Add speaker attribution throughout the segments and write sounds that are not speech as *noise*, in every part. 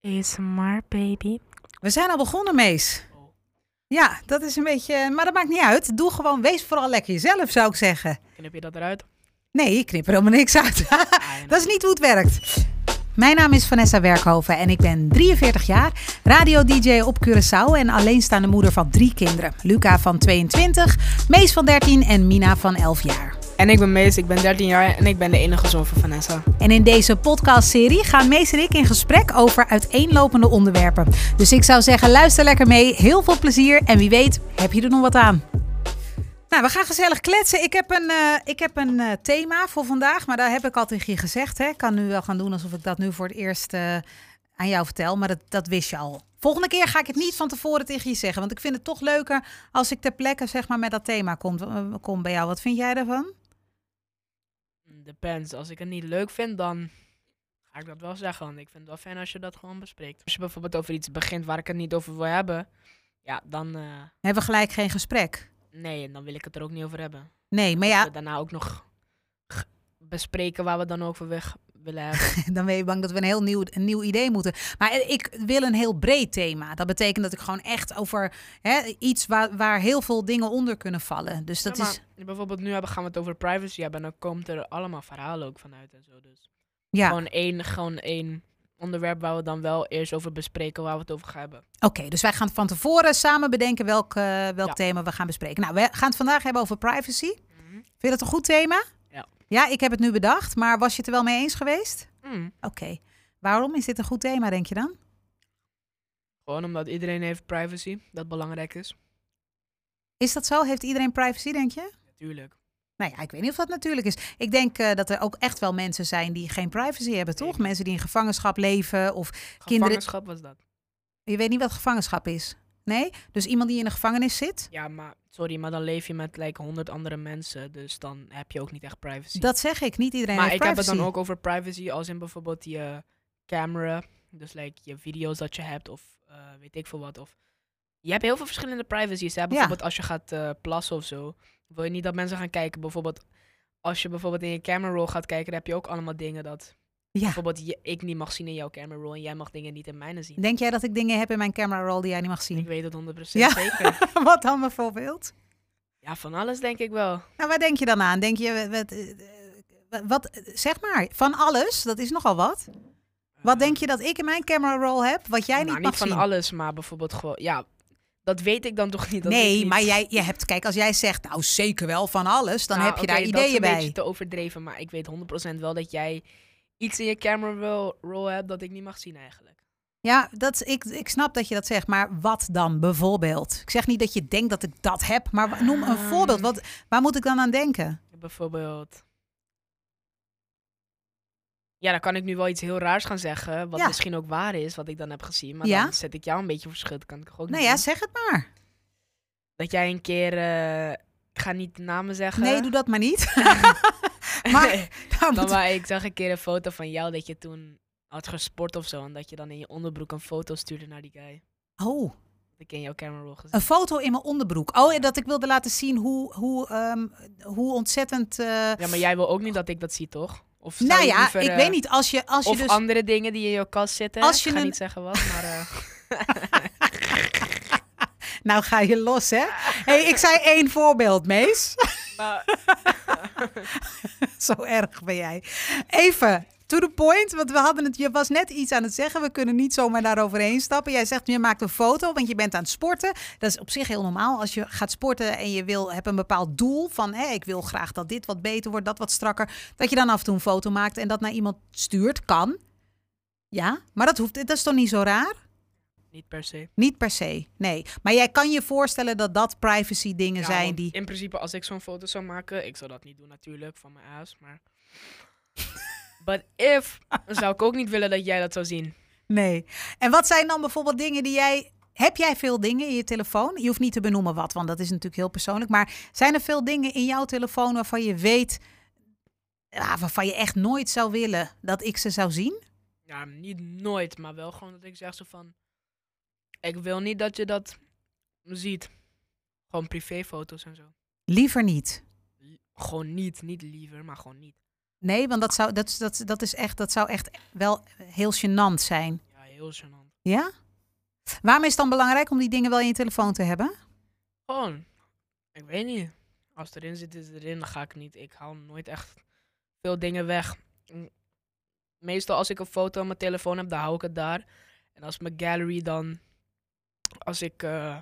Speaker 1: ASMR baby.
Speaker 2: We zijn al begonnen, Mees. Ja, dat is een beetje. Maar dat maakt niet uit. Doe gewoon, wees vooral lekker jezelf, zou ik zeggen.
Speaker 1: Knip je dat eruit?
Speaker 2: Nee, ik knip er helemaal niks uit.
Speaker 1: Ah,
Speaker 2: *laughs* dat is niet hoe het werkt. Mijn naam is Vanessa Werkhoven en ik ben 43 jaar, radio-dj op Curaçao en alleenstaande moeder van drie kinderen. Luca van 22, Mees van 13 en Mina van 11 jaar.
Speaker 1: En ik ben Mees, ik ben 13 jaar en ik ben de enige zoon van Vanessa.
Speaker 2: En in deze podcastserie gaan Mees en ik in gesprek over uiteenlopende onderwerpen. Dus ik zou zeggen, luister lekker mee. Heel veel plezier en wie weet heb je er nog wat aan. Nou, we gaan gezellig kletsen. Ik heb een, eh, ik heb een eh, thema voor vandaag, maar daar heb ik al tegen je gezegd. Hè. Ik kan nu wel gaan doen alsof ik dat nu voor het eerst eh, aan jou vertel, maar dat, dat wist je al. Volgende keer ga ik het niet van tevoren tegen je zeggen, want ik vind het toch leuker als ik ter plekke zeg maar, met dat thema kom, eh, kom bij jou. Wat vind jij daarvan?
Speaker 1: Hmm, Depends. Als ik het niet leuk vind, dan ga ik dat wel zeggen. Want ik vind het wel fijn als je dat gewoon bespreekt. Als je bijvoorbeeld over iets begint waar ik het niet over wil hebben, ja, dan eh,
Speaker 2: Hebben we gelijk geen gesprek?
Speaker 1: nee, en dan wil ik het er ook niet over hebben.
Speaker 2: Nee, maar
Speaker 1: Dat
Speaker 2: ja,
Speaker 1: We daarna ook nog g- bespreken waar we dan over weg willen hebben.
Speaker 2: dan ben je bang dat we een heel nieuw, een nieuw idee moeten. Maar ik wil een heel breed thema. Dat betekent dat ik gewoon echt over hè, iets waar, waar heel veel dingen onder kunnen vallen. *laughs* Dus dat
Speaker 1: Ja, maar
Speaker 2: is.
Speaker 1: Bijvoorbeeld nu hebben, gaan we het over privacy hebben en dan komt er allemaal verhalen ook vanuit en zo. Dus
Speaker 2: Ja, oké.
Speaker 1: Gewoon, één, gewoon één onderwerp waar we dan wel eerst over bespreken waar we het over gaan hebben.
Speaker 2: dus wij gaan van tevoren samen bedenken welk, eh, welk
Speaker 1: Ja.
Speaker 2: thema we gaan bespreken. Nou, we gaan het vandaag hebben over privacy.
Speaker 1: Mhm.
Speaker 2: Vind je dat een goed thema?
Speaker 1: Ja.
Speaker 2: Ja, ik heb het nu bedacht, maar was je het er wel mee eens geweest?
Speaker 1: Mm.
Speaker 2: Oké. Waarom is dit een goed thema, denk je dan?
Speaker 1: Gewoon omdat iedereen heeft privacy, dat belangrijk is.
Speaker 2: Is dat zo? Heeft iedereen privacy, denk je?
Speaker 1: Natuurlijk.
Speaker 2: Nou ja, ik weet niet of dat natuurlijk is. Ik denk eh, dat er ook echt wel mensen zijn die geen privacy hebben, toch?
Speaker 1: Zeker.
Speaker 2: Mensen die in gevangenschap leven of
Speaker 1: Gevangenschap was dat.
Speaker 2: je weet niet wat gevangenschap is. Nee? Dus iemand die in de gevangenis zit?
Speaker 1: Ja, maar sorry, maar dan leef je met like honderd andere mensen, dus dan heb je ook niet echt privacy.
Speaker 2: Dat zeg ik. Niet iedereen
Speaker 1: maar
Speaker 2: heeft
Speaker 1: ik heb
Speaker 2: privacy.
Speaker 1: het dan ook over privacy als in bijvoorbeeld je camera, dus like je video's dat je hebt of eh, weet ik veel wat. Of je hebt heel veel verschillende privacy's. Hè? Bijvoorbeeld als je gaat eh, plassen of zo, wil je niet dat mensen gaan kijken. Bijvoorbeeld als je bijvoorbeeld in je camera roll gaat kijken, dan heb je ook allemaal dingen dat
Speaker 2: Ja.
Speaker 1: bijvoorbeeld je, ik niet mag zien in jouw camera roll en jij mag dingen niet in mijne zien.
Speaker 2: Denk jij dat ik dingen heb in mijn camera roll die jij niet mag
Speaker 1: Ik
Speaker 2: zien?
Speaker 1: weet het 100%
Speaker 2: Ja.
Speaker 1: zeker.
Speaker 2: *laughs* wat dan bijvoorbeeld?
Speaker 1: Ja, van alles denk ik wel.
Speaker 2: Nou, waar denk je dan aan? Denk je, eh, wat, eh, wat, eh, zeg maar, van alles, dat is nogal wat. Wat denk je dat ik in mijn camera roll heb, wat jij
Speaker 1: Eh. nou,
Speaker 2: niet mag
Speaker 1: van
Speaker 2: zien?
Speaker 1: alles, maar bijvoorbeeld gewoon, ja, dat weet ik dan toch niet. dat weet ik
Speaker 2: Nee,
Speaker 1: niet.
Speaker 2: maar jij je hebt, kijk, als jij zegt, nou zeker wel van alles, dan
Speaker 1: Nou,
Speaker 2: heb je
Speaker 1: oké,
Speaker 2: daar
Speaker 1: Dat is
Speaker 2: ideeën
Speaker 1: een beetje
Speaker 2: bij.
Speaker 1: te overdreven, maar ik weet 100% wel dat jij iets in je camera roll, roll hebt dat ik niet mag zien eigenlijk.
Speaker 2: Ja, dat, ik, ik snap dat je dat zegt, maar wat dan bijvoorbeeld? Ik zeg niet dat je denkt dat ik dat heb, maar wa- noem een
Speaker 1: Ah.
Speaker 2: voorbeeld. Wat, waar moet ik dan aan denken?
Speaker 1: Bijvoorbeeld. Ja, dan kan ik nu wel iets heel raars gaan zeggen, wat
Speaker 2: Ja.
Speaker 1: misschien ook waar is, wat ik dan heb gezien. Maar
Speaker 2: Ja.
Speaker 1: dan zet ik jou een beetje voor schut, kan ik ook
Speaker 2: Nou
Speaker 1: niet
Speaker 2: ja,
Speaker 1: doen.
Speaker 2: zeg het maar.
Speaker 1: Dat jij een keer, eh, ik ga niet namen zeggen.
Speaker 2: Nee, doe dat maar
Speaker 1: *laughs*
Speaker 2: niet. *laughs* maar
Speaker 1: Nee.
Speaker 2: nou,
Speaker 1: Maar,
Speaker 2: moet-
Speaker 1: maar ik zag een keer een foto van jou dat je toen had gesport of zo. En dat je dan in je onderbroek een foto stuurde naar die guy.
Speaker 2: Oh,
Speaker 1: Dat ik in jouw camera roll gezien.
Speaker 2: een foto in mijn onderbroek. Oh, en dat ik wilde laten zien hoe, hoe, ehm, hoe ontzettend... eh,
Speaker 1: Ja, maar jij wil ook niet dat ik dat zie, toch? Of zou
Speaker 2: nou
Speaker 1: je
Speaker 2: ja,
Speaker 1: liever,
Speaker 2: ik
Speaker 1: eh,
Speaker 2: weet niet, als je, als je
Speaker 1: Of
Speaker 2: dus...
Speaker 1: andere dingen die in jouw kast zitten.
Speaker 2: Als je
Speaker 1: ik ga
Speaker 2: een-
Speaker 1: niet zeggen wat, maar...
Speaker 2: *laughs*
Speaker 1: eh,
Speaker 2: Nou ga je los, hè? hey, ik zei één voorbeeld, Mees.
Speaker 1: maar
Speaker 2: *laughs* Zo erg ben jij. Even to the point, want we hadden het, je was net iets aan het zeggen. We kunnen niet zomaar daaroverheen stappen. Jij zegt, je maakt een foto, want je bent aan het sporten. Dat is op zich heel normaal. Als je gaat sporten en je wil, hebt een bepaald doel van... Hé, ik wil graag dat dit wat beter wordt, dat wat strakker. Dat je dan af en toe een foto maakt en dat naar iemand stuurt, kan. Ja, maar dat, hoeft, dat is toch niet zo raar?
Speaker 1: niet per se.
Speaker 2: Niet per se, nee. Maar jij kan je voorstellen dat dat privacy dingen
Speaker 1: Ja,
Speaker 2: zijn
Speaker 1: want
Speaker 2: die...
Speaker 1: In principe, als ik zo'n foto zou maken... Ik zou dat niet doen natuurlijk, van mijn aas,
Speaker 2: *laughs*
Speaker 1: maar... But if, dan zou ik ook niet willen dat jij dat zou zien.
Speaker 2: Nee. En wat zijn dan bijvoorbeeld dingen die jij. Heb jij veel dingen in je telefoon? Je hoeft niet te benoemen wat, want dat is natuurlijk heel persoonlijk. Maar zijn er veel dingen in jouw telefoon waarvan je weet. ja, waarvan je echt nooit zou willen dat ik ze zou zien?
Speaker 1: Ja, niet nooit, maar wel gewoon dat ik zeg zo van... Ik wil niet dat je dat ziet. Gewoon privéfoto's en zo.
Speaker 2: Liever niet.
Speaker 1: Li- Gewoon niet, niet liever, maar gewoon niet.
Speaker 2: Nee, want dat zou, dat, dat, dat is echt, dat zou echt wel heel gênant zijn.
Speaker 1: Ja, heel heel gênant.
Speaker 2: Ja? Waarom is het dan belangrijk om die dingen wel in je telefoon te hebben?
Speaker 1: Gewoon, ik weet niet. Als het erin zit, is het erin. Dan ga ik niet. Ik haal nooit echt veel dingen weg. M- Meestal als ik een foto op mijn telefoon heb, dan hou ik het daar. En als mijn gallery dan... Als ik... eh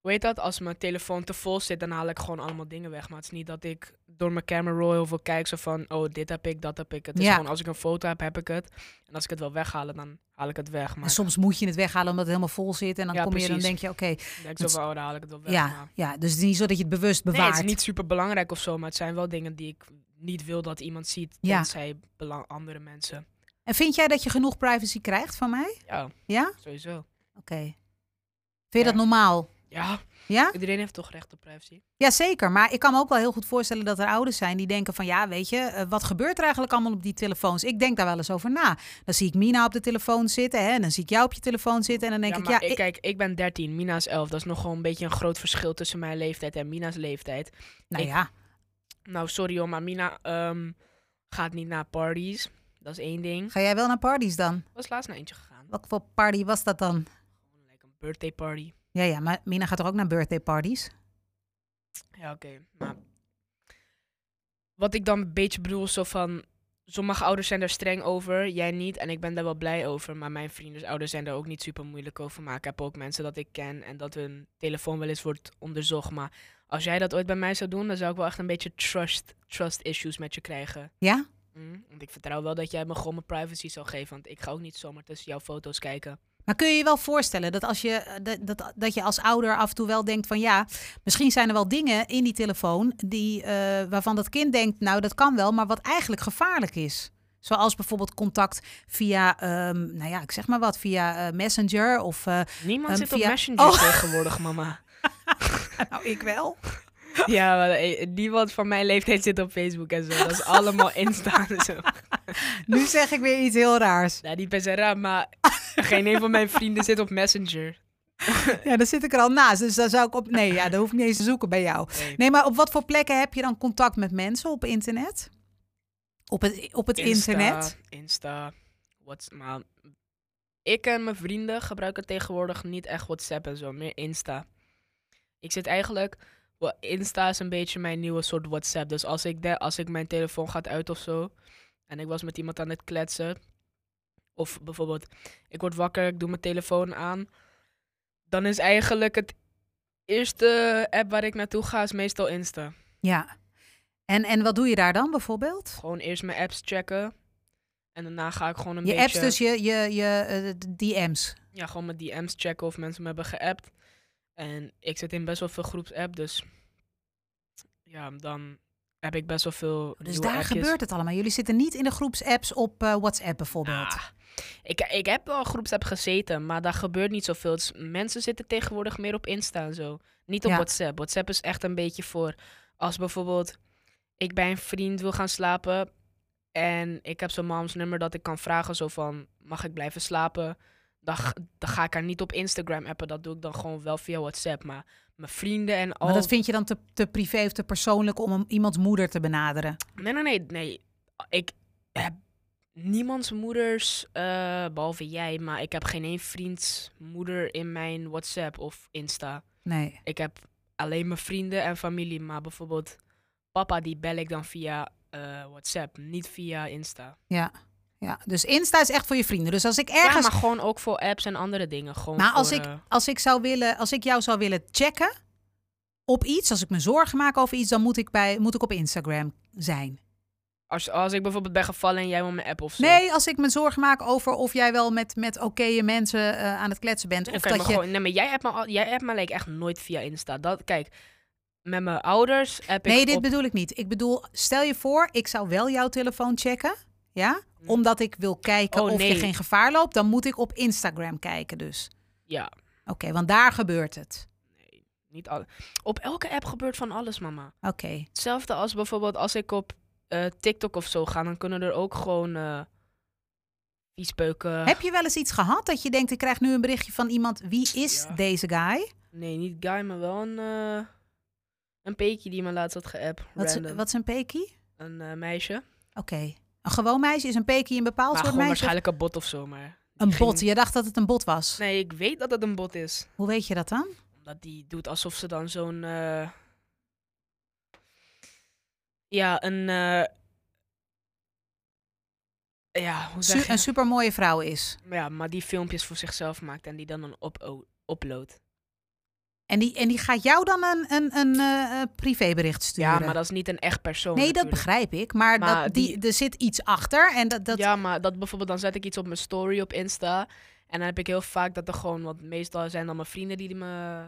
Speaker 1: hoe heet dat? Als mijn telefoon te vol zit, dan haal ik gewoon allemaal dingen weg. Maar het is niet dat ik door mijn camera roll heel veel kijk. Zo van, oh, dit heb ik, dat heb ik. Het is
Speaker 2: Ja.
Speaker 1: gewoon, als ik een foto heb, heb ik het. En als ik het wil weghalen, dan haal ik het weg. Maar
Speaker 2: En soms moet je het weghalen omdat het helemaal vol zit. En dan
Speaker 1: Ja,
Speaker 2: kom je dan
Speaker 1: precies.
Speaker 2: denk je, oké,
Speaker 1: ik denk zo van, oh, dan haal ik het wel weg. maar-
Speaker 2: ja, ja. Dus het is niet zo dat je het bewust bewaart.
Speaker 1: Nee, het is niet super belangrijk of zo, maar het zijn wel dingen die ik niet wil dat iemand ziet.
Speaker 2: Ja.
Speaker 1: Tenzij belang andere mensen.
Speaker 2: En vind jij dat je genoeg privacy krijgt van mij?
Speaker 1: Ja,
Speaker 2: Ja? Oké.
Speaker 1: sowieso.
Speaker 2: Vind je
Speaker 1: Ja.
Speaker 2: dat normaal?
Speaker 1: Ja,
Speaker 2: Ja?
Speaker 1: iedereen heeft toch recht op privacy?
Speaker 2: Jazeker, maar ik kan me ook wel heel goed voorstellen dat er ouders zijn die denken van ja, weet je, eh, wat gebeurt er eigenlijk allemaal op die telefoons? Ik denk daar wel eens over na. Dan zie ik Mina op de telefoon zitten hè, en dan zie ik jou op je telefoon zitten en dan denk
Speaker 1: ja,
Speaker 2: ik
Speaker 1: maar
Speaker 2: ja,
Speaker 1: ik,
Speaker 2: ik-
Speaker 1: kijk, ik ben 13, Mina is 11. Dat is nog gewoon een beetje een groot verschil tussen mijn leeftijd en Mina's leeftijd.
Speaker 2: nou
Speaker 1: ik-
Speaker 2: ja,
Speaker 1: Nou, sorry hoor, maar Mina ehm, gaat niet naar parties. Dat is één ding.
Speaker 2: ga jij wel naar parties dan?
Speaker 1: Ik was laatst naar eentje gegaan.
Speaker 2: Wat voor party was dat dan?
Speaker 1: Gewoon like een birthday party.
Speaker 2: Ja, ja, maar Mina gaat toch ook naar birthday parties?
Speaker 1: Ja, oké. Maar wat ik dan een beetje bedoel is zo van... Sommige ouders zijn daar streng over, jij niet. En ik ben daar wel blij over. Maar mijn vriendens ouders zijn daar ook niet super moeilijk over. Maar ik heb ook mensen dat ik ken en dat hun telefoon wel eens wordt onderzocht. Maar als jij dat ooit bij mij zou doen, dan zou ik wel echt een beetje trust, trust issues met je krijgen.
Speaker 2: Ja?
Speaker 1: Mm, Want ik vertrouw wel dat jij me gewoon mijn privacy zou geven. Want ik ga ook niet zomaar tussen jouw foto's kijken.
Speaker 2: Maar kun je je wel voorstellen dat als je, eh, dat, dat, dat je als ouder af en toe wel denkt van ja, misschien zijn er wel dingen in die telefoon die, eh, waarvan dat kind denkt, nou dat kan wel, maar wat eigenlijk gevaarlijk is. Zoals bijvoorbeeld contact via, ehm, nou ja, ik zeg maar wat, via eh, Messenger of... eh,
Speaker 1: Niemand
Speaker 2: Ehm,
Speaker 1: zit op
Speaker 2: via-
Speaker 1: Messenger
Speaker 2: Oh.
Speaker 1: tegenwoordig, mama.
Speaker 2: *laughs* nou, ik wel.
Speaker 1: Ja, maar eh, niemand van mijn leeftijd zit op Facebook en zo. Dat is allemaal Insta en zo.
Speaker 2: *laughs* Nu zeg ik weer iets heel raars.
Speaker 1: Nou, die best wel raar, maar geen een van mijn vrienden zit op Messenger.
Speaker 2: Ja, dan zit ik er al naast, dus daar zou ik op... Nee, ja, daar hoef ik niet eens te zoeken bij jou.
Speaker 1: Nee,
Speaker 2: Nee, maar op wat voor plekken heb je dan contact met mensen op internet? Op het, op het
Speaker 1: Insta,
Speaker 2: internet?
Speaker 1: Insta, WhatsApp. Maar ik en mijn vrienden gebruiken tegenwoordig niet echt WhatsApp en zo, meer Insta. Ik zit eigenlijk... wa- Insta is een beetje mijn nieuwe soort WhatsApp. Dus als ik, de, als ik mijn telefoon gaat uit of zo... en ik was met iemand aan het kletsen... of bijvoorbeeld, ik word wakker, ik doe mijn telefoon aan... dan is eigenlijk het eerste app waar ik naartoe ga, is meestal Insta.
Speaker 2: Ja. En, en wat doe je daar dan bijvoorbeeld?
Speaker 1: Gewoon eerst mijn apps checken. En daarna ga ik gewoon een
Speaker 2: je
Speaker 1: beetje... Oh,
Speaker 2: apps dus, je, je, je eh, d- DM's.
Speaker 1: Ja, gewoon mijn DM's checken of mensen me hebben geappt. En ik zit in best wel veel groepsapp, dus... Ja, dan heb ik best wel veel
Speaker 2: Dus
Speaker 1: nieuwe
Speaker 2: daar
Speaker 1: appjes.
Speaker 2: gebeurt het allemaal. Jullie zitten niet in de groepsapps op eh, WhatsApp bijvoorbeeld.
Speaker 1: Ah, ik, ik heb wel groepsapp gezeten, maar daar gebeurt niet zoveel. Dus mensen zitten tegenwoordig meer op Insta en zo. Niet op
Speaker 2: Ja.
Speaker 1: WhatsApp. WhatsApp is echt een beetje voor... Als bijvoorbeeld ik bij een vriend wil gaan slapen... en ik heb zo'n mams nummer dat ik kan vragen zo van... mag ik blijven slapen? Dan, g- dan ga ik haar niet op Instagram appen. Dat doe ik dan gewoon wel via WhatsApp. Maar mijn vrienden en al...
Speaker 2: Maar dat vind je dan te, te privé of te persoonlijk om een- iemands moeder te benaderen?
Speaker 1: Nee, nee, nee, nee. Ik heb niemands moeders, eh, behalve jij, maar ik heb geen één vriends moeder in mijn WhatsApp of Insta.
Speaker 2: Nee.
Speaker 1: Ik heb alleen mijn vrienden en familie, maar bijvoorbeeld papa, die bel ik dan via eh, WhatsApp, niet via Insta.
Speaker 2: Ja. ja. Dus Insta is echt voor je vrienden. Dus als ik
Speaker 1: Ja,
Speaker 2: ergens.
Speaker 1: maar gewoon ook voor apps en andere dingen. Gewoon
Speaker 2: maar als,
Speaker 1: voor,
Speaker 2: ik,
Speaker 1: eh,
Speaker 2: als, ik zou willen, als ik jou zou willen checken op iets, als ik me zorgen maak over iets, dan moet ik, bij, moet ik op Instagram zijn.
Speaker 1: als, als ik bijvoorbeeld ben gevallen en jij wil mijn app of zo.
Speaker 2: Nee, als ik me zorgen maak over of jij wel met, met oké mensen eh, aan het kletsen bent.
Speaker 1: Dan
Speaker 2: of
Speaker 1: kan je
Speaker 2: dat
Speaker 1: me
Speaker 2: je.
Speaker 1: gewoon- nee, maar jij hebt me, al- jij hebt me like, echt nooit via Insta. Dat, kijk, met mijn ouders heb
Speaker 2: nee,
Speaker 1: ik
Speaker 2: dit
Speaker 1: op-
Speaker 2: bedoel ik niet. Ik bedoel, stel je voor, ik zou wel jouw telefoon checken. Ja?
Speaker 1: Hm.
Speaker 2: Omdat ik wil kijken
Speaker 1: Oh,
Speaker 2: of je
Speaker 1: nee.
Speaker 2: geen gevaar loopt. Dan moet ik op Instagram kijken dus.
Speaker 1: Ja,
Speaker 2: Oké, want daar gebeurt het.
Speaker 1: Niet al op elke app gebeurt van alles, mama.
Speaker 2: Oké.
Speaker 1: Hetzelfde als bijvoorbeeld als ik op eh, TikTok of zo ga, dan kunnen er ook gewoon eh viespeuken.
Speaker 2: Heb je wel eens iets gehad dat je denkt, ik krijg nu een berichtje van iemand. Wie is
Speaker 1: Ja.
Speaker 2: deze guy?
Speaker 1: Nee, niet guy, maar wel een, eh, een peekje die me laatst had geappt.
Speaker 2: Wat is,
Speaker 1: random.
Speaker 2: wat is een peekie?
Speaker 1: Een eh, meisje.
Speaker 2: Oké. Een gewoon meisje is een peekie een bepaald
Speaker 1: maar
Speaker 2: soort
Speaker 1: gewoon
Speaker 2: meisje?
Speaker 1: waarschijnlijk een bot of zo, maar.
Speaker 2: Een
Speaker 1: ging-
Speaker 2: bot. Je dacht dat het een bot was.
Speaker 1: Nee, ik weet dat het een bot is.
Speaker 2: Hoe weet je dat dan?
Speaker 1: Omdat die doet alsof ze dan zo'n. eh, Ja, een. eh, Ja, hoe
Speaker 2: Su-
Speaker 1: zeg je?
Speaker 2: een supermooie vrouw is.
Speaker 1: Ja, maar die filmpjes voor zichzelf maakt en die dan een op upload.
Speaker 2: En die, en die gaat jou dan een, een, een eh, eh, privébericht sturen.
Speaker 1: Ja, maar dat is niet een echt persoon.
Speaker 2: nee, dat
Speaker 1: Oh, natuurlijk.
Speaker 2: begrijp ik. Maar,
Speaker 1: Maar
Speaker 2: dat, die,
Speaker 1: die-
Speaker 2: er zit iets achter. En dat, dat,
Speaker 1: Ja, maar dat bijvoorbeeld, dan zet ik iets op mijn story op Insta. En dan heb ik heel vaak dat er gewoon, want meestal zijn dan mijn vrienden die me,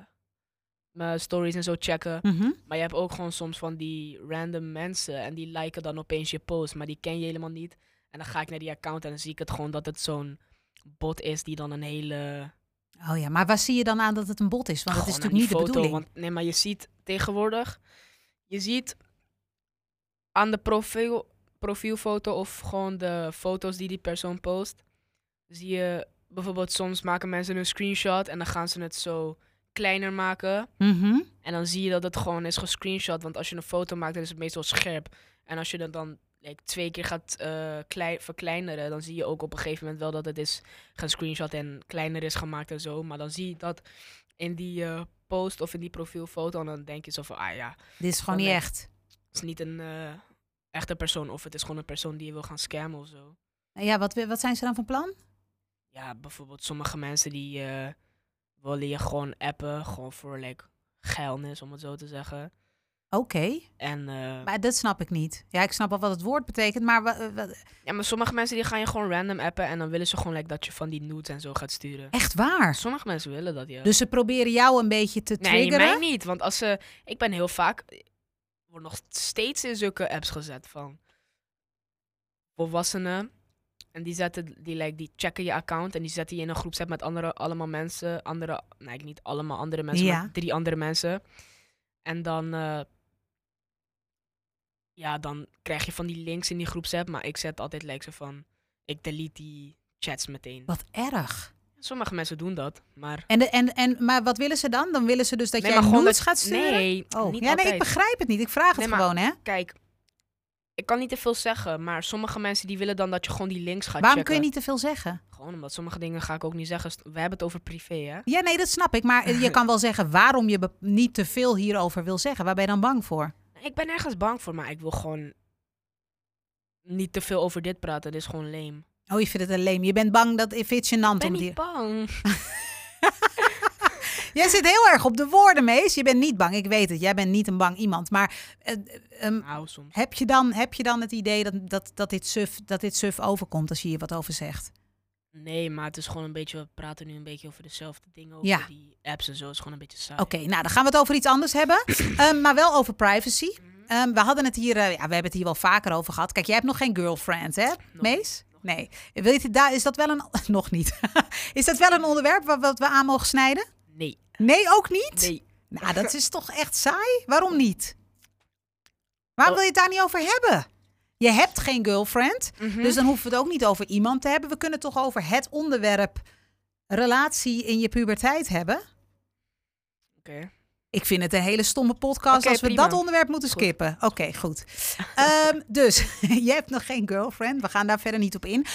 Speaker 1: mijn stories en zo checken.
Speaker 2: Mhm.
Speaker 1: Maar je hebt ook gewoon soms van die random mensen en die liken dan opeens je post, maar die ken je helemaal niet. En dan ga ik naar die account en dan zie ik het gewoon dat het zo'n bot is die dan een hele...
Speaker 2: Oh ja, maar waar zie je dan aan dat het een bot is? Want dat is
Speaker 1: Gewoon aan
Speaker 2: natuurlijk niet
Speaker 1: Oh, nou, die
Speaker 2: de bedoeling.
Speaker 1: Want, nee, maar je ziet tegenwoordig, je ziet aan de profiel, profielfoto of gewoon de foto's die die persoon post, zie je bijvoorbeeld soms maken mensen een screenshot en dan gaan ze het zo kleiner maken.
Speaker 2: Mhm.
Speaker 1: En dan zie je dat het gewoon is gescreenshot, want als je een foto maakt, dan is het meestal scherp. En als je dat dan like, twee keer gaat eh, klei- verkleineren, dan zie je ook op een gegeven moment wel dat het is gescreenshot en kleiner is gemaakt en zo. Maar dan zie je dat in die eh, post of in die profielfoto en dan denk je zo van, ah ja, het
Speaker 2: Dit is gewoon
Speaker 1: Van
Speaker 2: niet
Speaker 1: niks.
Speaker 2: echt.
Speaker 1: is niet een eh, echte persoon of het is gewoon een persoon die je wil gaan scammen of zo.
Speaker 2: Nou Ja, wat, wat zijn ze dan van plan?
Speaker 1: Ja, bijvoorbeeld sommige mensen die eh, willen je gewoon appen, gewoon voor like, geilnis om het zo te zeggen.
Speaker 2: Oké,
Speaker 1: En, eh,
Speaker 2: maar dat snap ik niet. Ja, ik snap wel wat het woord betekent, maar wa- eh, wa-
Speaker 1: Ja, maar sommige mensen die gaan je gewoon random appen en dan willen ze gewoon like, dat je van die nudes en zo gaat sturen.
Speaker 2: echt waar.
Speaker 1: Sommige mensen willen dat, ja.
Speaker 2: Dus ze proberen jou een beetje te
Speaker 1: nee,
Speaker 2: triggeren.
Speaker 1: mij niet. Want als ze... Ik ben heel vaak... ik Word nog steeds in zulke apps gezet van volwassenen. En die, zetten, die, like, die checken je account en die zetten je in een groepsapp met andere, allemaal mensen. Andere, nee, eigenlijk niet allemaal andere mensen,
Speaker 2: Ja.
Speaker 1: maar drie andere mensen. En dan... eh, ja, dan krijg je van die links in die groepsapp. Maar ik zet altijd like, zo van... Ik delete die chats meteen.
Speaker 2: Wat erg.
Speaker 1: Sommige mensen doen dat, maar...
Speaker 2: En, de, en, en, maar wat willen ze dan? Dan willen ze dus dat
Speaker 1: Nee,
Speaker 2: jij
Speaker 1: maar gewoon
Speaker 2: nudes
Speaker 1: dat-
Speaker 2: gaat sturen?
Speaker 1: Nee,
Speaker 2: Oh,
Speaker 1: niet
Speaker 2: ja, nee, ik
Speaker 1: altijd.
Speaker 2: begrijp het niet. Ik vraag het
Speaker 1: Nee, maar- oh,
Speaker 2: gewoon, hè.
Speaker 1: Kijk, ik kan niet te veel zeggen, maar sommige mensen die willen dan dat je gewoon die links gaat
Speaker 2: Waarom kun
Speaker 1: checken.
Speaker 2: je niet te veel zeggen?
Speaker 1: Gewoon omdat sommige dingen ga ik ook niet zeggen. St- We hebben het over privé, hè?
Speaker 2: Ja, nee, dat snap ik.
Speaker 1: *laughs*
Speaker 2: Maar je kan wel zeggen waarom je be- niet te veel hierover wil zeggen. Waar ben je dan bang voor?
Speaker 1: Ik ben ergens bang voor, maar ik wil gewoon niet te veel over dit praten. Dit is gewoon leem.
Speaker 2: Oh, je vindt het een leem. Je bent bang dat if it's gênant
Speaker 1: Ik ben
Speaker 2: om
Speaker 1: niet
Speaker 2: die...
Speaker 1: bang.
Speaker 2: Jij zit heel erg op de woorden, Mees. Je bent niet bang. Ik weet het. Jij bent niet een bang iemand. Maar eh, ehm,
Speaker 1: Nou, soms.
Speaker 2: heb, je dan, heb je dan het idee dat, dat, dat, dit suf, dat dit suf overkomt als je hier wat over zegt?
Speaker 1: Nee, maar het is gewoon een beetje... We praten nu een beetje over dezelfde dingen. Over
Speaker 2: Ja.
Speaker 1: die apps en zo. Het is gewoon een beetje saai.
Speaker 2: Oké, nou dan gaan we het over iets anders hebben. Ehm, maar wel over privacy. Ehm, we hadden het hier, eh, ja, we hebben het hier wel vaker over gehad. Kijk, jij hebt nog geen girlfriend, hè, Mees? Nee. Wil je, daar, is dat wel een. *laughs* Nog niet. is dat wel een onderwerp wat, wat we aan mogen snijden?
Speaker 1: Nee.
Speaker 2: Nee, ook niet?
Speaker 1: Nee.
Speaker 2: Nou, dat is toch echt saai? Waarom niet? Waarom wil je het daar niet over hebben? Je hebt geen girlfriend,
Speaker 1: Hm?
Speaker 2: dus dan hoeven we het ook niet over iemand te hebben. We kunnen het toch over het onderwerp relatie in je puberteit hebben?
Speaker 1: Oké.
Speaker 2: Ik vind het een hele stomme podcast
Speaker 1: Oké,
Speaker 2: als we
Speaker 1: prima.
Speaker 2: dat onderwerp moeten
Speaker 1: Goed.
Speaker 2: skippen. Oké,
Speaker 1: *laughs*
Speaker 2: goed. Ehm, dus *laughs* je hebt nog geen girlfriend. We gaan daar verder niet op in.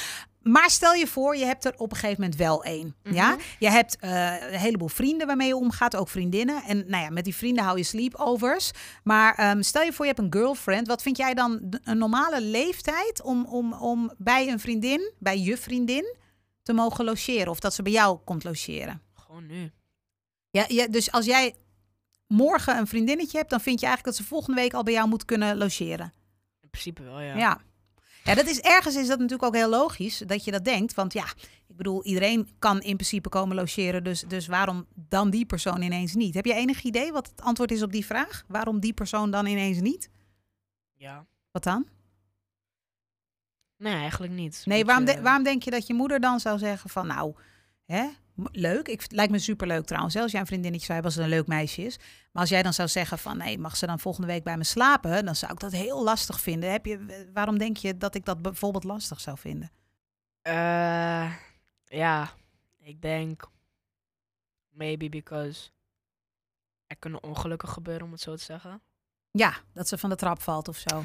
Speaker 2: Maar stel je voor, je hebt er op een gegeven moment wel één.
Speaker 1: Mhm.
Speaker 2: ja? Je hebt eh, een heleboel vrienden waarmee je omgaat, ook vriendinnen. En nou ja, met die vrienden hou je sleepovers. Maar ehm, stel je voor, je hebt een girlfriend. Wat vind jij dan d- een normale leeftijd om, om, om bij een vriendin, bij je vriendin, te mogen logeren? Of dat ze bij jou komt logeren?
Speaker 1: Gewoon nu.
Speaker 2: Ja, ja, dus als jij morgen een vriendinnetje hebt, dan vind je eigenlijk dat ze volgende week al bij jou moet kunnen logeren.
Speaker 1: In principe wel, ja.
Speaker 2: Ja. ja. dat is ergens is dat natuurlijk ook heel logisch dat je dat denkt. Want ja, ik bedoel, iedereen kan in principe komen logeren. Dus, dus waarom dan die persoon ineens niet? Heb je enig idee wat het antwoord is op die vraag? Waarom die persoon dan ineens niet?
Speaker 1: Ja.
Speaker 2: Wat dan?
Speaker 1: Nee, eigenlijk niet.
Speaker 2: Nee,
Speaker 1: Beetje-
Speaker 2: waarom, de- waarom denk je dat je moeder dan zou zeggen van nou, hè, m- leuk. Ik, het lijkt me superleuk trouwens. hè, Als jij een vriendinnetje zou hebben als het een leuk meisje is. Maar als jij dan zou zeggen van nee, mag ze dan volgende week bij me slapen? Dan zou ik dat heel lastig vinden. Heb je, waarom denk je dat ik dat bijvoorbeeld lastig zou vinden?
Speaker 1: Eh, ja, ik denk. Maybe because. Er kunnen ongelukken gebeuren, om het zo te zeggen.
Speaker 2: Ja, dat ze van de trap valt of zo.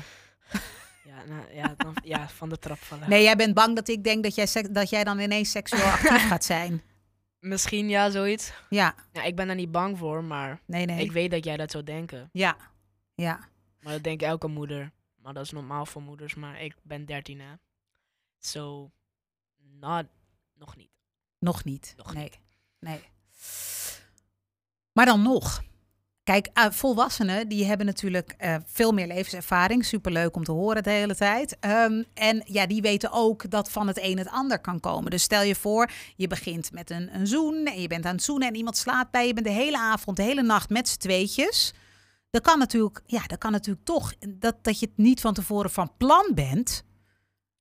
Speaker 1: Ja, nou, ja, dan, ja, van de trap vallen.
Speaker 2: Nee, jij bent bang dat ik denk dat jij, seks- dat jij dan ineens seksueel *laughs* actief gaat zijn.
Speaker 1: *laughs* Misschien ja, zoiets.
Speaker 2: Ja,
Speaker 1: Ja, ik ben daar niet bang voor, maar
Speaker 2: nee, nee.
Speaker 1: ik weet dat jij dat zou denken.
Speaker 2: Ja, ja.
Speaker 1: Maar dat denkt elke moeder. Maar dat is normaal voor moeders, maar ik ben 13 hè. So, not, nog niet.
Speaker 2: Nog niet.
Speaker 1: Nog
Speaker 2: nee. nee. Maar dan nog. Kijk, eh, volwassenen die hebben natuurlijk eh, veel meer levenservaring. Superleuk om te horen de hele tijd. Ehm, en ja, die weten ook dat van het een het ander kan komen. Dus stel je voor, je begint met een, een zoen. En je bent aan het zoenen en iemand slaapt bij je. bent de hele avond, de hele nacht met z'n tweetjes. Dat kan natuurlijk, ja, dat kan natuurlijk toch. Dat, dat je het niet van tevoren van plan bent.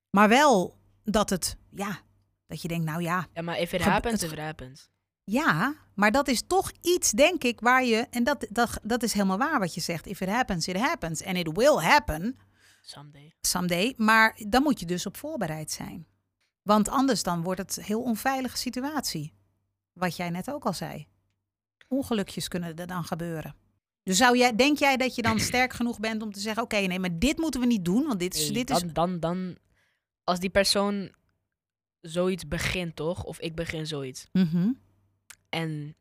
Speaker 2: Maar wel dat het, ja, dat je denkt, nou ja,
Speaker 1: Ja, maar if it
Speaker 2: Gebe-
Speaker 1: happens,
Speaker 2: het
Speaker 1: if it happens.
Speaker 2: ja, maar dat is toch iets, denk ik, waar je. En dat, dat, dat is helemaal waar wat je zegt. If it happens, it happens. En it will happen
Speaker 1: Someday.
Speaker 2: someday. Maar dan moet je dus op voorbereid zijn. Want anders dan wordt het een heel onveilige situatie. Wat jij net ook al zei. Ongelukjes kunnen er dan gebeuren. Dus zou jij, denk jij dat je dan sterk genoeg bent om te zeggen: oké, nee, maar dit moeten we niet doen, want dit is.
Speaker 1: Nee,
Speaker 2: Dus dit
Speaker 1: dan,
Speaker 2: is
Speaker 1: dan, dan, als die persoon zoiets begint, toch? Of ik begin zoiets.
Speaker 2: Mhm.
Speaker 1: En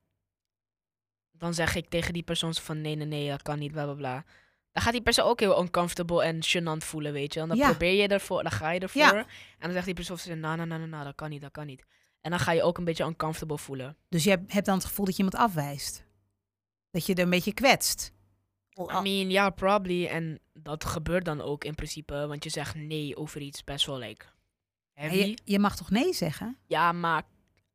Speaker 1: dan zeg ik tegen die persoon zo van nee, nee, nee, dat kan niet, bla, bla, bla. Dan gaat die persoon ook heel uncomfortable en gênant voelen, weet je. En dan
Speaker 2: Ja.
Speaker 1: probeer je ervoor, dan ga je ervoor.
Speaker 2: Ja.
Speaker 1: En dan zegt die persoon zo, nou, nou, nou, nou, nou, dat kan niet, dat kan niet. En dan ga je ook een beetje uncomfortable voelen.
Speaker 2: Dus je hebt dan het gevoel dat je iemand afwijst. Dat je er een beetje kwetst.
Speaker 1: I mean, ja, probably. En dat gebeurt dan ook in principe, want je zegt nee over iets best wel, like,
Speaker 2: Ja,
Speaker 1: heavy.
Speaker 2: Je, je mag toch nee zeggen?
Speaker 1: Ja, maar,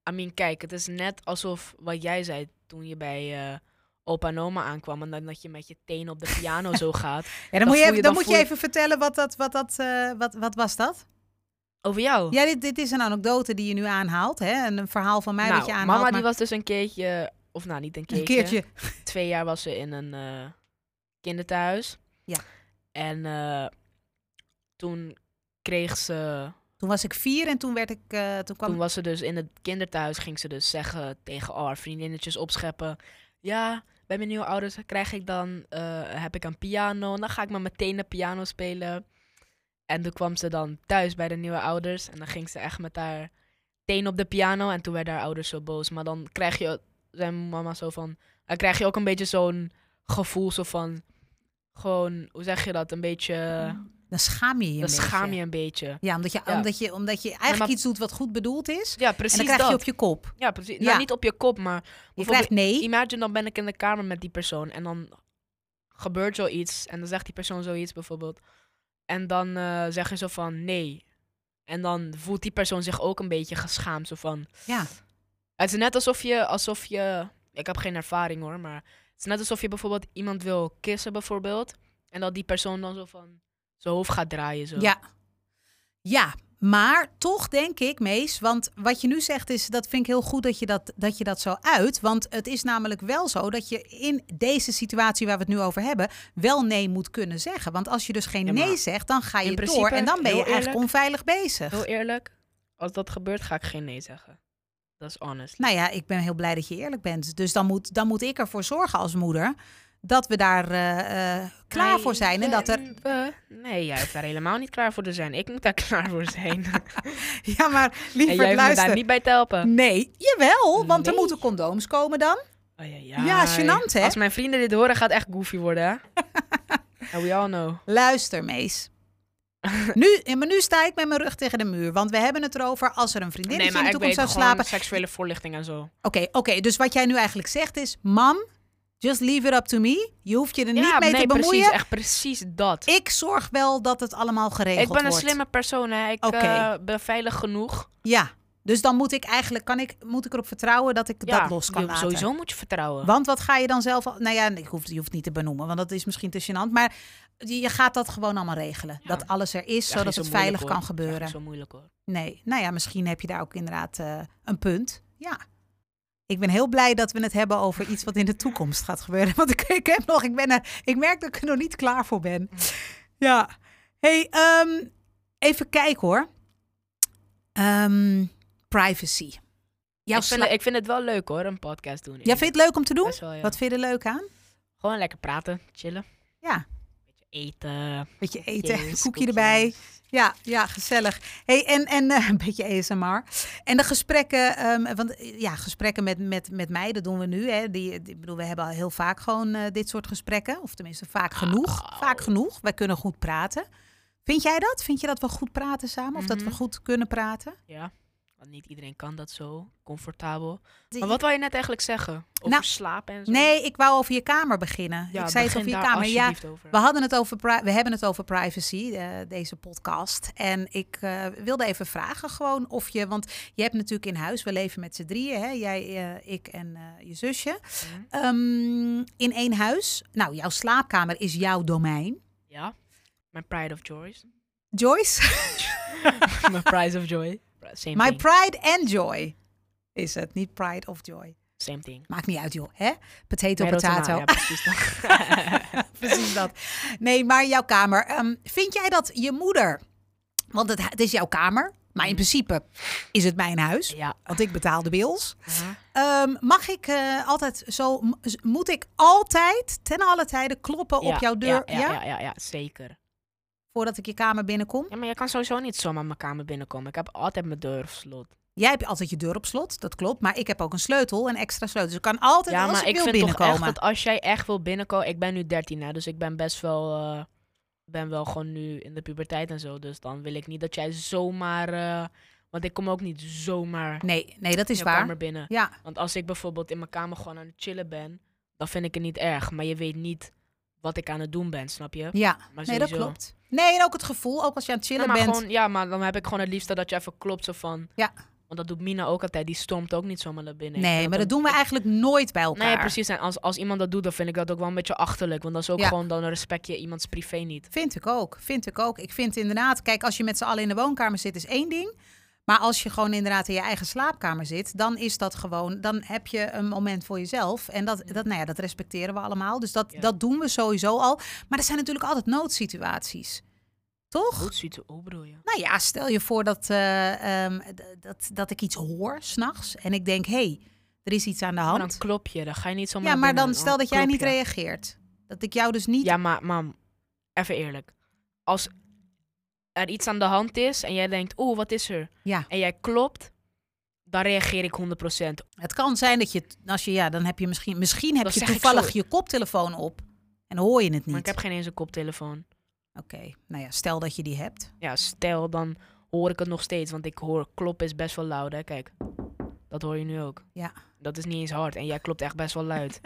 Speaker 1: I mean, kijk, het is net alsof wat jij zei toen je bij eh, opa en oma aankwam. En dan dat je met je teen op de piano
Speaker 2: *laughs*
Speaker 1: zo gaat.
Speaker 2: Ja, dan,
Speaker 1: Dan
Speaker 2: moet je,
Speaker 1: voel
Speaker 2: even,
Speaker 1: je-
Speaker 2: dan
Speaker 1: dan
Speaker 2: moet je
Speaker 1: voel je-
Speaker 2: even vertellen wat dat, wat dat, eh, wat, wat was dat?
Speaker 1: Over jou.
Speaker 2: Ja, dit, dit is een anekdote die je nu aanhaalt, hè? Een, een verhaal van mij
Speaker 1: nou,
Speaker 2: dat je aanhaalt.
Speaker 1: mama die
Speaker 2: maar
Speaker 1: was dus een keertje, of nou niet een keertje.
Speaker 2: een keertje.
Speaker 1: Twee jaar was ze in een eh kinderthuis.
Speaker 2: Ja.
Speaker 1: En eh, toen kreeg ze,
Speaker 2: Toen was ik vier en toen werd ik, eh, toen kwam.
Speaker 1: toen was ze dus in het kinderthuis, ging ze dus zeggen tegen haar vriendinnetjes opscheppen. Ja, bij mijn nieuwe ouders krijg ik dan, eh, heb ik een piano. En dan ga ik maar meteen de piano spelen. En toen kwam ze dan thuis bij de nieuwe ouders. En dan ging ze echt met haar teen op de piano. En toen werden haar ouders zo boos. Maar dan krijg je, zei mijn mama zo van, dan krijg je ook een beetje zo'n gevoel zo van, gewoon, hoe zeg je dat? Een beetje,
Speaker 2: Dan schaam je je. een
Speaker 1: dan schaam
Speaker 2: beetje.
Speaker 1: je een beetje.
Speaker 2: Ja, omdat je,
Speaker 1: Ja.
Speaker 2: Omdat je, omdat je eigenlijk
Speaker 1: maar-
Speaker 2: iets doet wat goed bedoeld is.
Speaker 1: Ja, precies
Speaker 2: en dan krijg
Speaker 1: dat.
Speaker 2: je op je kop.
Speaker 1: Ja, precies.
Speaker 2: Ja.
Speaker 1: Nou, niet op je kop, maar
Speaker 2: Je
Speaker 1: Bijvoorbeeld-
Speaker 2: krijgt nee.
Speaker 1: imagine dan ben ik in de kamer met die persoon en dan gebeurt zoiets en dan zegt die persoon zoiets bijvoorbeeld en dan eh, zeg je zo van nee en dan voelt die persoon zich ook een beetje geschaamd zo van
Speaker 2: Ja.
Speaker 1: het is net alsof je alsof je ik heb geen ervaring hoor maar het is net alsof je bijvoorbeeld iemand wil kissen bijvoorbeeld en dat die persoon dan zo van zijn hoofd gaat draaien zo
Speaker 2: Ja. Ja, maar toch denk ik, Mees, want wat je nu zegt is, dat vind ik heel goed dat je dat, dat je dat zo uit. Want het is namelijk wel zo dat je in deze situatie waar we het nu over hebben, wel nee moet kunnen zeggen. Want als je dus geen
Speaker 1: Ja, maar
Speaker 2: nee zegt, dan ga je
Speaker 1: in
Speaker 2: door
Speaker 1: principe,
Speaker 2: en dan ben je
Speaker 1: heel
Speaker 2: eigenlijk
Speaker 1: eerlijk-
Speaker 2: onveilig bezig.
Speaker 1: heel eerlijk als dat gebeurt ga ik geen nee zeggen dat is honest
Speaker 2: Nou ja, ik ben heel blij dat je eerlijk bent. Dus dan moet, dan moet ik ervoor zorgen als moeder dat we daar eh, eh, klaar
Speaker 1: Nee,
Speaker 2: voor zijn. En
Speaker 1: we-
Speaker 2: dat er *laughs*
Speaker 1: we- nee, jij hoeft daar helemaal niet klaar voor te zijn. Ik moet daar *laughs* klaar voor
Speaker 2: *laughs*
Speaker 1: zijn.
Speaker 2: Ja, maar
Speaker 1: en jij
Speaker 2: liever
Speaker 1: moet daar
Speaker 2: luister.
Speaker 1: niet bij te helpen.
Speaker 2: Nee, jawel, want er
Speaker 1: Nee.
Speaker 2: moeten condooms komen dan.
Speaker 1: Ajajai.
Speaker 2: Ja, gênant, hè?
Speaker 1: Als mijn vrienden dit horen, gaat het echt goofy worden, hè?
Speaker 2: *laughs*
Speaker 1: And we all know.
Speaker 2: Luister,
Speaker 1: *laughs*
Speaker 2: Mees. nu, ja, maar nu sta ik met mijn rug tegen de muur. Want we hebben het erover als er een vriendin
Speaker 1: Nee,
Speaker 2: in
Speaker 1: maar
Speaker 2: de
Speaker 1: ik weet
Speaker 2: toekomst zou
Speaker 1: gewoon
Speaker 2: slapen.
Speaker 1: seksuele voorlichting en zo.
Speaker 2: Oké, oké. dus wat jij nu eigenlijk zegt is... Mam, just leave it up to me. Je hoeft je er
Speaker 1: ja,
Speaker 2: niet mee
Speaker 1: nee,
Speaker 2: te bemoeien.
Speaker 1: precies. Echt precies dat.
Speaker 2: Ik zorg wel dat het allemaal geregeld
Speaker 1: Ik
Speaker 2: wordt.
Speaker 1: ben een slimme persoon, hè. Ik
Speaker 2: Oké.
Speaker 1: eh, ben veilig genoeg.
Speaker 2: Ja, dus dan moet ik eigenlijk... Kan ik, moet ik erop vertrouwen dat ik
Speaker 1: ja,
Speaker 2: dat los kan
Speaker 1: je-
Speaker 2: laten.
Speaker 1: Sowieso moet je vertrouwen.
Speaker 2: Want wat ga je dan zelf... al- Nou ja, ik hoef, je hoeft niet te benoemen, want dat is misschien te gênant. Maar je je gaat dat gewoon allemaal regelen.
Speaker 1: Ja.
Speaker 2: Dat alles er is,
Speaker 1: Is
Speaker 2: zodat
Speaker 1: eigenlijk
Speaker 2: het
Speaker 1: zo
Speaker 2: veilig
Speaker 1: moeilijk,
Speaker 2: kan
Speaker 1: hoor. Is eigenlijk
Speaker 2: gebeuren.
Speaker 1: zo moeilijk, hoor.
Speaker 2: Nee, nou ja, misschien heb je daar ook inderdaad eh, een punt. Ja. Ik ben heel blij dat we het hebben over iets wat in de toekomst gaat gebeuren. *laughs* Want ik, ik, heb nog, ik, ben er, ik merk dat ik er nog niet klaar voor ben.
Speaker 1: Mm.
Speaker 2: Ja. hey, ehm, even kijken hoor. Ehm, privacy. Jouw
Speaker 1: Ik vind,
Speaker 2: sla-
Speaker 1: het- ik vind het wel leuk, hoor, een podcast doen.
Speaker 2: Jij vindt het leuk om te doen?
Speaker 1: Best wel, ja.
Speaker 2: Wat vind je er leuk aan?
Speaker 1: Gewoon lekker praten, chillen.
Speaker 2: Ja.
Speaker 1: Beetje eten.
Speaker 2: Beetje eten,
Speaker 1: koekjes,
Speaker 2: koekje erbij.
Speaker 1: koekjes.
Speaker 2: Ja, ja, gezellig. Hey, en en eh, *laughs* een beetje ASMR. En de gesprekken, ehm, want eh, ja, gesprekken met, met, met mij, dat doen we nu. Hè. Die, die- ik bedoel, we hebben al heel vaak gewoon eh, dit soort gesprekken. Of tenminste, vaak
Speaker 1: Ah,
Speaker 2: genoeg.
Speaker 1: Au.
Speaker 2: Vaak genoeg. Wij kunnen goed praten. Vind jij dat? Vind je dat we goed praten samen? Of dat we
Speaker 1: Mhm.
Speaker 2: goed kunnen praten?
Speaker 1: Ja, want niet iedereen kan dat zo comfortabel. Maar wat wou je net eigenlijk zeggen? Over
Speaker 2: Nou,
Speaker 1: slapen en zo?
Speaker 2: Nee, ik wou over je kamer beginnen.
Speaker 1: ja,
Speaker 2: ik zei het
Speaker 1: begin
Speaker 2: over je
Speaker 1: daar
Speaker 2: kamer. Ja,
Speaker 1: alsjeblieft over.
Speaker 2: We, hadden het over pri- we hebben het over privacy, eh, deze podcast. En ik eh, wilde even vragen gewoon of je... Want je hebt natuurlijk in huis, we leven met z'n drieën. Hè? Jij, eh, ik en eh, je zusje.
Speaker 1: Mhm.
Speaker 2: Ehm, in één huis. Nou, jouw slaapkamer is jouw domein.
Speaker 1: Ja, mijn pride of
Speaker 2: *laughs*
Speaker 1: joys.
Speaker 2: Joyce,
Speaker 1: *laughs* mijn pride of joy. Same
Speaker 2: my
Speaker 1: thing.
Speaker 2: pride and joy is het. Niet pride of joy.
Speaker 1: Same thing.
Speaker 2: Maakt niet uit joh, hè? Potato,
Speaker 1: Metal
Speaker 2: potato.
Speaker 1: Tonale, nou Ja, precies dat.
Speaker 2: *laughs* Precies dat. Nee, maar jouw kamer. Ehm, vind jij dat je moeder... Want het, het is jouw kamer. Maar in
Speaker 1: Mhm.
Speaker 2: principe is het mijn huis.
Speaker 1: ja. uh-huh.
Speaker 2: Want ik betaal de bills.
Speaker 1: Aha.
Speaker 2: Ehm, mag ik eh, altijd zo... m- z- Moet ik altijd, ten alle tijden, kloppen
Speaker 1: Ja,
Speaker 2: Oh, op jouw deur?
Speaker 1: Ja, ja, ja? ja, ja, zeker.
Speaker 2: Voordat ik je kamer binnenkom?
Speaker 1: Ja, maar je kan sowieso niet zomaar mijn kamer binnenkomen. Ik heb altijd mijn deur op slot.
Speaker 2: Jij hebt altijd je deur op slot, dat klopt. Maar ik heb ook een sleutel, een extra sleutel. Dus ik kan altijd
Speaker 1: ja,
Speaker 2: als
Speaker 1: maar
Speaker 2: ik wil
Speaker 1: ik vind toch echt
Speaker 2: binnenkomen.
Speaker 1: dat als jij echt wil binnenkomen... Ik ben nu 13, hè, dus ik ben best wel... eh, ben wel gewoon nu in de puberteit en zo. Dus dan wil ik niet dat jij zomaar... eh, want ik kom ook niet zomaar
Speaker 2: Nee, nee, dat is
Speaker 1: in je
Speaker 2: waar.
Speaker 1: kamer binnen.
Speaker 2: Ja,
Speaker 1: Want als ik bijvoorbeeld in mijn kamer gewoon aan het chillen ben... dan vind ik het niet erg. Maar je weet niet wat ik aan het doen ben, snap je?
Speaker 2: ja.
Speaker 1: Maar
Speaker 2: nee, dat
Speaker 1: sowieso.
Speaker 2: klopt. Nee, en ook het gevoel, ook als je aan het
Speaker 1: Ja
Speaker 2: chillen
Speaker 1: maar,
Speaker 2: bent.
Speaker 1: gewoon, ja, maar dan heb ik gewoon het liefste dat je even klopt zo van...
Speaker 2: Ja.
Speaker 1: Want dat doet Mina ook altijd. Die stormt ook niet zomaar naar binnen. Ik
Speaker 2: nee,
Speaker 1: vind
Speaker 2: maar dat
Speaker 1: ook-
Speaker 2: doen we eigenlijk nooit bij elkaar.
Speaker 1: Nee, precies. En als, als iemand dat doet, dan vind ik dat ook wel een beetje achterlijk. Want dat is ook
Speaker 2: Ja.
Speaker 1: gewoon, dan respect je iemands privé niet.
Speaker 2: Vind ik ook, vind ik ook. Ik vind inderdaad, kijk, als je met z'n allen in de woonkamer zit, is één ding. Maar als je gewoon inderdaad in je eigen slaapkamer zit, dan is dat gewoon, dan heb je een moment voor jezelf. En dat, dat, nou ja, dat respecteren we allemaal. Dus dat,
Speaker 1: Ja.
Speaker 2: dat doen we sowieso al. Maar er zijn natuurlijk altijd noodsituaties. Toch?
Speaker 1: Goed ziet hoe bedoel je?
Speaker 2: Nou ja, stel je voor dat, eh, ehm, d- dat, dat ik iets hoor s'nachts en ik denk, hé, hey, er is iets aan de
Speaker 1: Maar
Speaker 2: hand.
Speaker 1: Oh, dan klop je, dan ga je niet zomaar
Speaker 2: ja,
Speaker 1: naar
Speaker 2: maar
Speaker 1: binnen,
Speaker 2: dan stel dat jij
Speaker 1: klop
Speaker 2: niet
Speaker 1: je.
Speaker 2: reageert. Dat ik jou dus niet...
Speaker 1: Ja, maar mam, even eerlijk. Als er iets aan de hand is en jij denkt, oeh, wat is er?
Speaker 2: Ja.
Speaker 1: En jij klopt, dan reageer ik 100%.
Speaker 2: Het kan zijn dat je, t- als je, ja, dan heb je misschien, misschien heb
Speaker 1: Dat
Speaker 2: je
Speaker 1: zeg ik
Speaker 2: toevallig
Speaker 1: zo.
Speaker 2: je koptelefoon op en hoor je het
Speaker 1: Maar
Speaker 2: niet.
Speaker 1: ik heb geen eens een koptelefoon.
Speaker 2: Oké, nou ja, stel dat je die hebt.
Speaker 1: ja, stel, dan hoor ik het nog steeds. Want ik hoor kloppen is best wel luid, hè. Kijk, dat hoor je nu ook.
Speaker 2: Ja.
Speaker 1: Dat is niet eens hard. En jij klopt echt best wel
Speaker 2: *laughs*
Speaker 1: luid.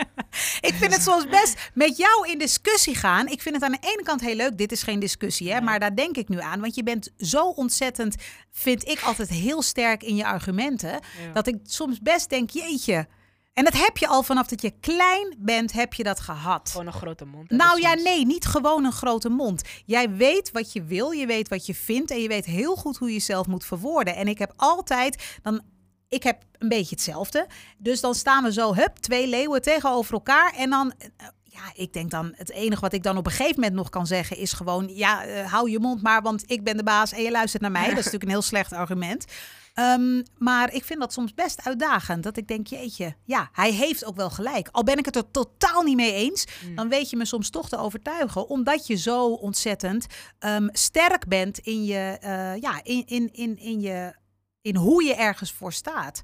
Speaker 2: Ik vind het soms best met jou in discussie gaan. Ik vind het aan de ene kant heel leuk. Dit is geen discussie, hè,
Speaker 1: Nee.
Speaker 2: maar daar denk ik nu aan, want je bent zo ontzettend, vind ik altijd heel sterk in je argumenten,
Speaker 1: Ja.
Speaker 2: dat ik soms best denk, jeetje. En dat heb je al vanaf dat je klein bent, heb je dat gehad.
Speaker 1: Gewoon een grote mond. hebben
Speaker 2: Nou ja,
Speaker 1: soms.
Speaker 2: nee, niet gewoon een grote mond. Jij weet wat je wil, je weet wat je vindt en je weet heel goed hoe je jezelf moet verwoorden. En ik heb altijd dan. Ik heb een beetje hetzelfde. Dus dan staan we zo, hup, twee leeuwen tegenover elkaar. En dan, eh, ja, ik denk dan, het enige wat ik dan op een gegeven moment nog kan zeggen is gewoon, ja, eh, hou je mond maar, want ik ben de baas en je luistert naar mij. Dat is natuurlijk een heel slecht argument. Ehm, maar ik vind dat soms best uitdagend. Dat ik denk, jeetje, ja, hij heeft ook wel gelijk. Al ben ik het er totaal niet mee eens,
Speaker 1: Mm.
Speaker 2: dan weet je me soms toch te overtuigen. Omdat je zo ontzettend ehm, sterk bent in, je, eh, ja, in, in, in, in, je, in hoe je ergens voor staat.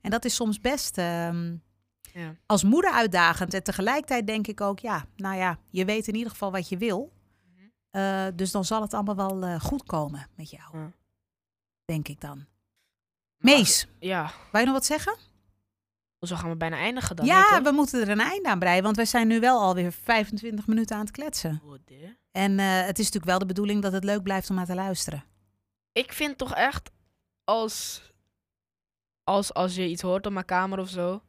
Speaker 2: En dat is soms best ehm,
Speaker 1: Ja.
Speaker 2: als moeder uitdagend. En tegelijkertijd denk ik ook, ja, nou ja, je weet in ieder geval wat je wil.
Speaker 1: Mhm.
Speaker 2: Eh, dus dan zal het allemaal wel eh, goed komen met jou.
Speaker 1: Ja.
Speaker 2: Denk ik dan.
Speaker 1: Maar-
Speaker 2: Mees,
Speaker 1: Ja,
Speaker 2: wou je nog wat zeggen?
Speaker 1: zo gaan we bijna eindigen dan.
Speaker 2: ja,
Speaker 1: hè, toch?
Speaker 2: we moeten er een einde aan breien, want wij zijn nu wel alweer 25 minuten aan het kletsen.
Speaker 1: Oh, dear.
Speaker 2: En eh, het is natuurlijk wel de bedoeling dat het leuk blijft om naar te luisteren.
Speaker 1: Ik vind toch echt, als, als, als je iets hoort op mijn kamer of zo,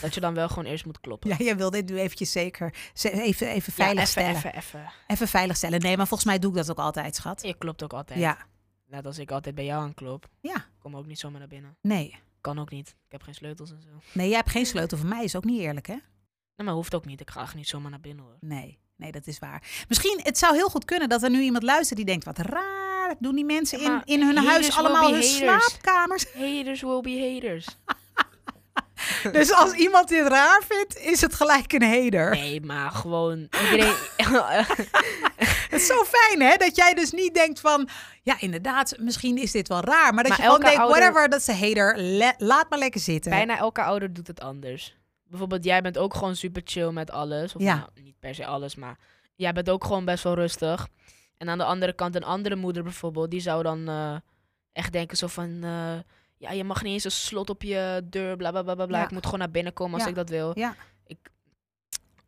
Speaker 1: dat je dan wel gewoon eerst moet kloppen.
Speaker 2: Ja, jij wil dit nu eventjes zeker ze- even, even
Speaker 1: Ja,
Speaker 2: veilig
Speaker 1: even,
Speaker 2: stellen.
Speaker 1: even, even.
Speaker 2: Even veilig stellen. Nee, maar volgens mij doe ik dat ook altijd, schat.
Speaker 1: Je klopt ook altijd.
Speaker 2: Ja,
Speaker 1: Net als ik altijd bij jou aan klop.
Speaker 2: Ja.
Speaker 1: Kom ook niet zomaar naar binnen.
Speaker 2: nee.
Speaker 1: Kan ook niet. Ik heb geen sleutels en zo.
Speaker 2: Nee, jij hebt geen sleutel voor mij, is ook niet eerlijk, hè?
Speaker 1: Nee, maar hoeft ook niet. Ik ga echt niet zomaar naar binnen hoor.
Speaker 2: Nee, nee, dat is waar. Misschien, het zou heel goed kunnen dat er nu iemand luistert die denkt, wat raar, doen die mensen
Speaker 1: Ja,
Speaker 2: in,
Speaker 1: maar
Speaker 2: in hun
Speaker 1: haters
Speaker 2: huis
Speaker 1: will
Speaker 2: allemaal
Speaker 1: be
Speaker 2: hun
Speaker 1: haters.
Speaker 2: slaapkamers.
Speaker 1: Haters will be haters.
Speaker 2: Dus als iemand dit raar vindt, is het gelijk een hater.
Speaker 1: *laughs* Nee, maar gewoon. Iedereen,
Speaker 2: *laughs* Het is zo fijn, hè? Dat jij dus niet denkt van... Ja, inderdaad, misschien is dit wel raar. Maar dat
Speaker 1: Maar
Speaker 2: je gewoon
Speaker 1: elke
Speaker 2: denkt,
Speaker 1: ouder-
Speaker 2: whatever, dat is een hater. Le- laat maar lekker zitten.
Speaker 1: Bijna elke ouder doet het anders. Bijvoorbeeld, jij bent ook gewoon super chill met alles. Of
Speaker 2: Ja.
Speaker 1: nou, niet per se alles, maar jij bent ook gewoon best wel rustig. En aan de andere kant, een andere moeder bijvoorbeeld, die zou dan eh, echt denken zo van... eh, ja, je mag niet eens een slot op je deur, bla bla bla bla. bla.
Speaker 2: Ja.
Speaker 1: Ik moet gewoon naar binnen komen als
Speaker 2: Ja.
Speaker 1: ik dat wil.
Speaker 2: Ja.
Speaker 1: Ik,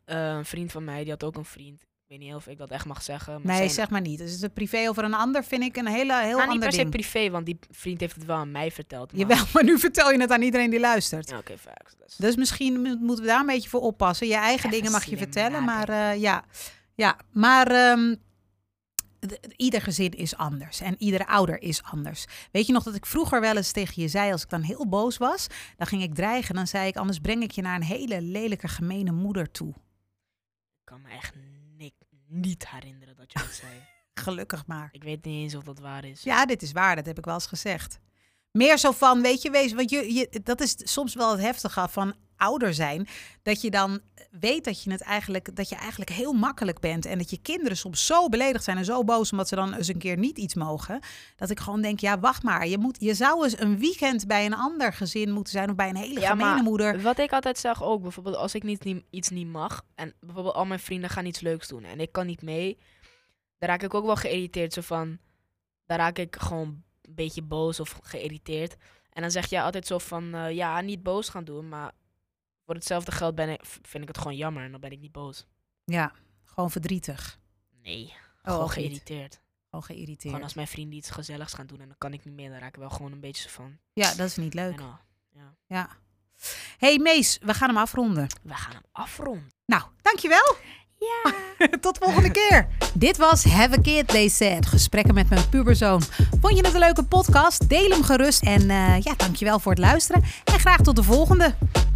Speaker 1: eh, een vriend van mij, die had ook een vriend. Ik weet niet of ik dat echt mag zeggen. Maar
Speaker 2: Nee,
Speaker 1: zijn-
Speaker 2: zeg maar niet. Dus het is privé over een ander vind ik een hele, heel
Speaker 1: nou, niet
Speaker 2: ander
Speaker 1: per se
Speaker 2: ding.
Speaker 1: privé, want die vriend heeft het wel aan mij verteld. Maar...
Speaker 2: Jawel, *laughs* maar nu vertel je het aan iedereen die luistert.
Speaker 1: Ja, Oké, facts. Dat is-
Speaker 2: Dus misschien mo- moeten we daar een beetje voor oppassen. Je eigen
Speaker 1: Even
Speaker 2: dingen mag je
Speaker 1: slim
Speaker 2: vertellen, maar
Speaker 1: nadenken.
Speaker 2: eh, ja. ja. Maar ehm, d- d- ieder gezin is anders en iedere ouder is anders. Weet je nog dat ik vroeger wel eens tegen je zei, als ik dan heel boos was, dan ging ik dreigen. Dan zei ik, anders breng ik je naar een hele lelijke, gemene moeder toe.
Speaker 1: Ik kan me echt ni- niet herinneren dat je dat *laughs* zei.
Speaker 2: Gelukkig maar.
Speaker 1: Ik weet niet eens of dat waar is.
Speaker 2: Ja, dit is waar, dat heb ik wel eens gezegd. Meer zo van, weet je, wees, want je, je, dat is soms wel het heftige van ouder zijn. Dat je dan weet dat je het eigenlijk, dat je eigenlijk heel makkelijk bent. En dat je kinderen soms zo beledigd zijn en zo boos omdat ze dan eens een keer niet iets mogen. Dat ik gewoon denk, ja, wacht maar. Je, moet, je zou eens een weekend bij een ander gezin moeten zijn of bij een hele
Speaker 1: Ja,
Speaker 2: gemene
Speaker 1: maar-
Speaker 2: moeder.
Speaker 1: Wat ik altijd zeg ook, bijvoorbeeld als ik niet, niet- iets niet mag en bijvoorbeeld al mijn vrienden gaan iets leuks doen en ik kan niet mee, dan raak ik ook wel geïrriteerd. Zo van, dan raak ik gewoon een beetje boos of geïrriteerd. En dan zeg jij altijd zo van, eh, ja, niet boos gaan doen, maar voor hetzelfde geld ben ik, v- vind ik het gewoon jammer en dan ben ik niet boos.
Speaker 2: Ja, gewoon verdrietig.
Speaker 1: Nee,
Speaker 2: Oh,
Speaker 1: gewoon
Speaker 2: ook niet.
Speaker 1: geïrriteerd.
Speaker 2: Gewoon geïrriteerd.
Speaker 1: Gewoon als mijn vrienden iets gezelligs gaan doen en dan kan ik niet mee, dan raak ik wel gewoon een beetje zo van,
Speaker 2: Ja, dat is niet leuk.
Speaker 1: en oh,
Speaker 2: Ja. hey, Mees, we gaan hem afronden.
Speaker 1: we gaan hem afronden.
Speaker 2: Nou, dankjewel.
Speaker 1: Ja.
Speaker 2: *laughs* Tot volgende keer. Dit was Have a Kid, They Said. Gesprekken met mijn puberzoon. Vond je het een leuke podcast? Deel hem gerust. En eh ja, dankjewel voor het luisteren. En graag tot de volgende.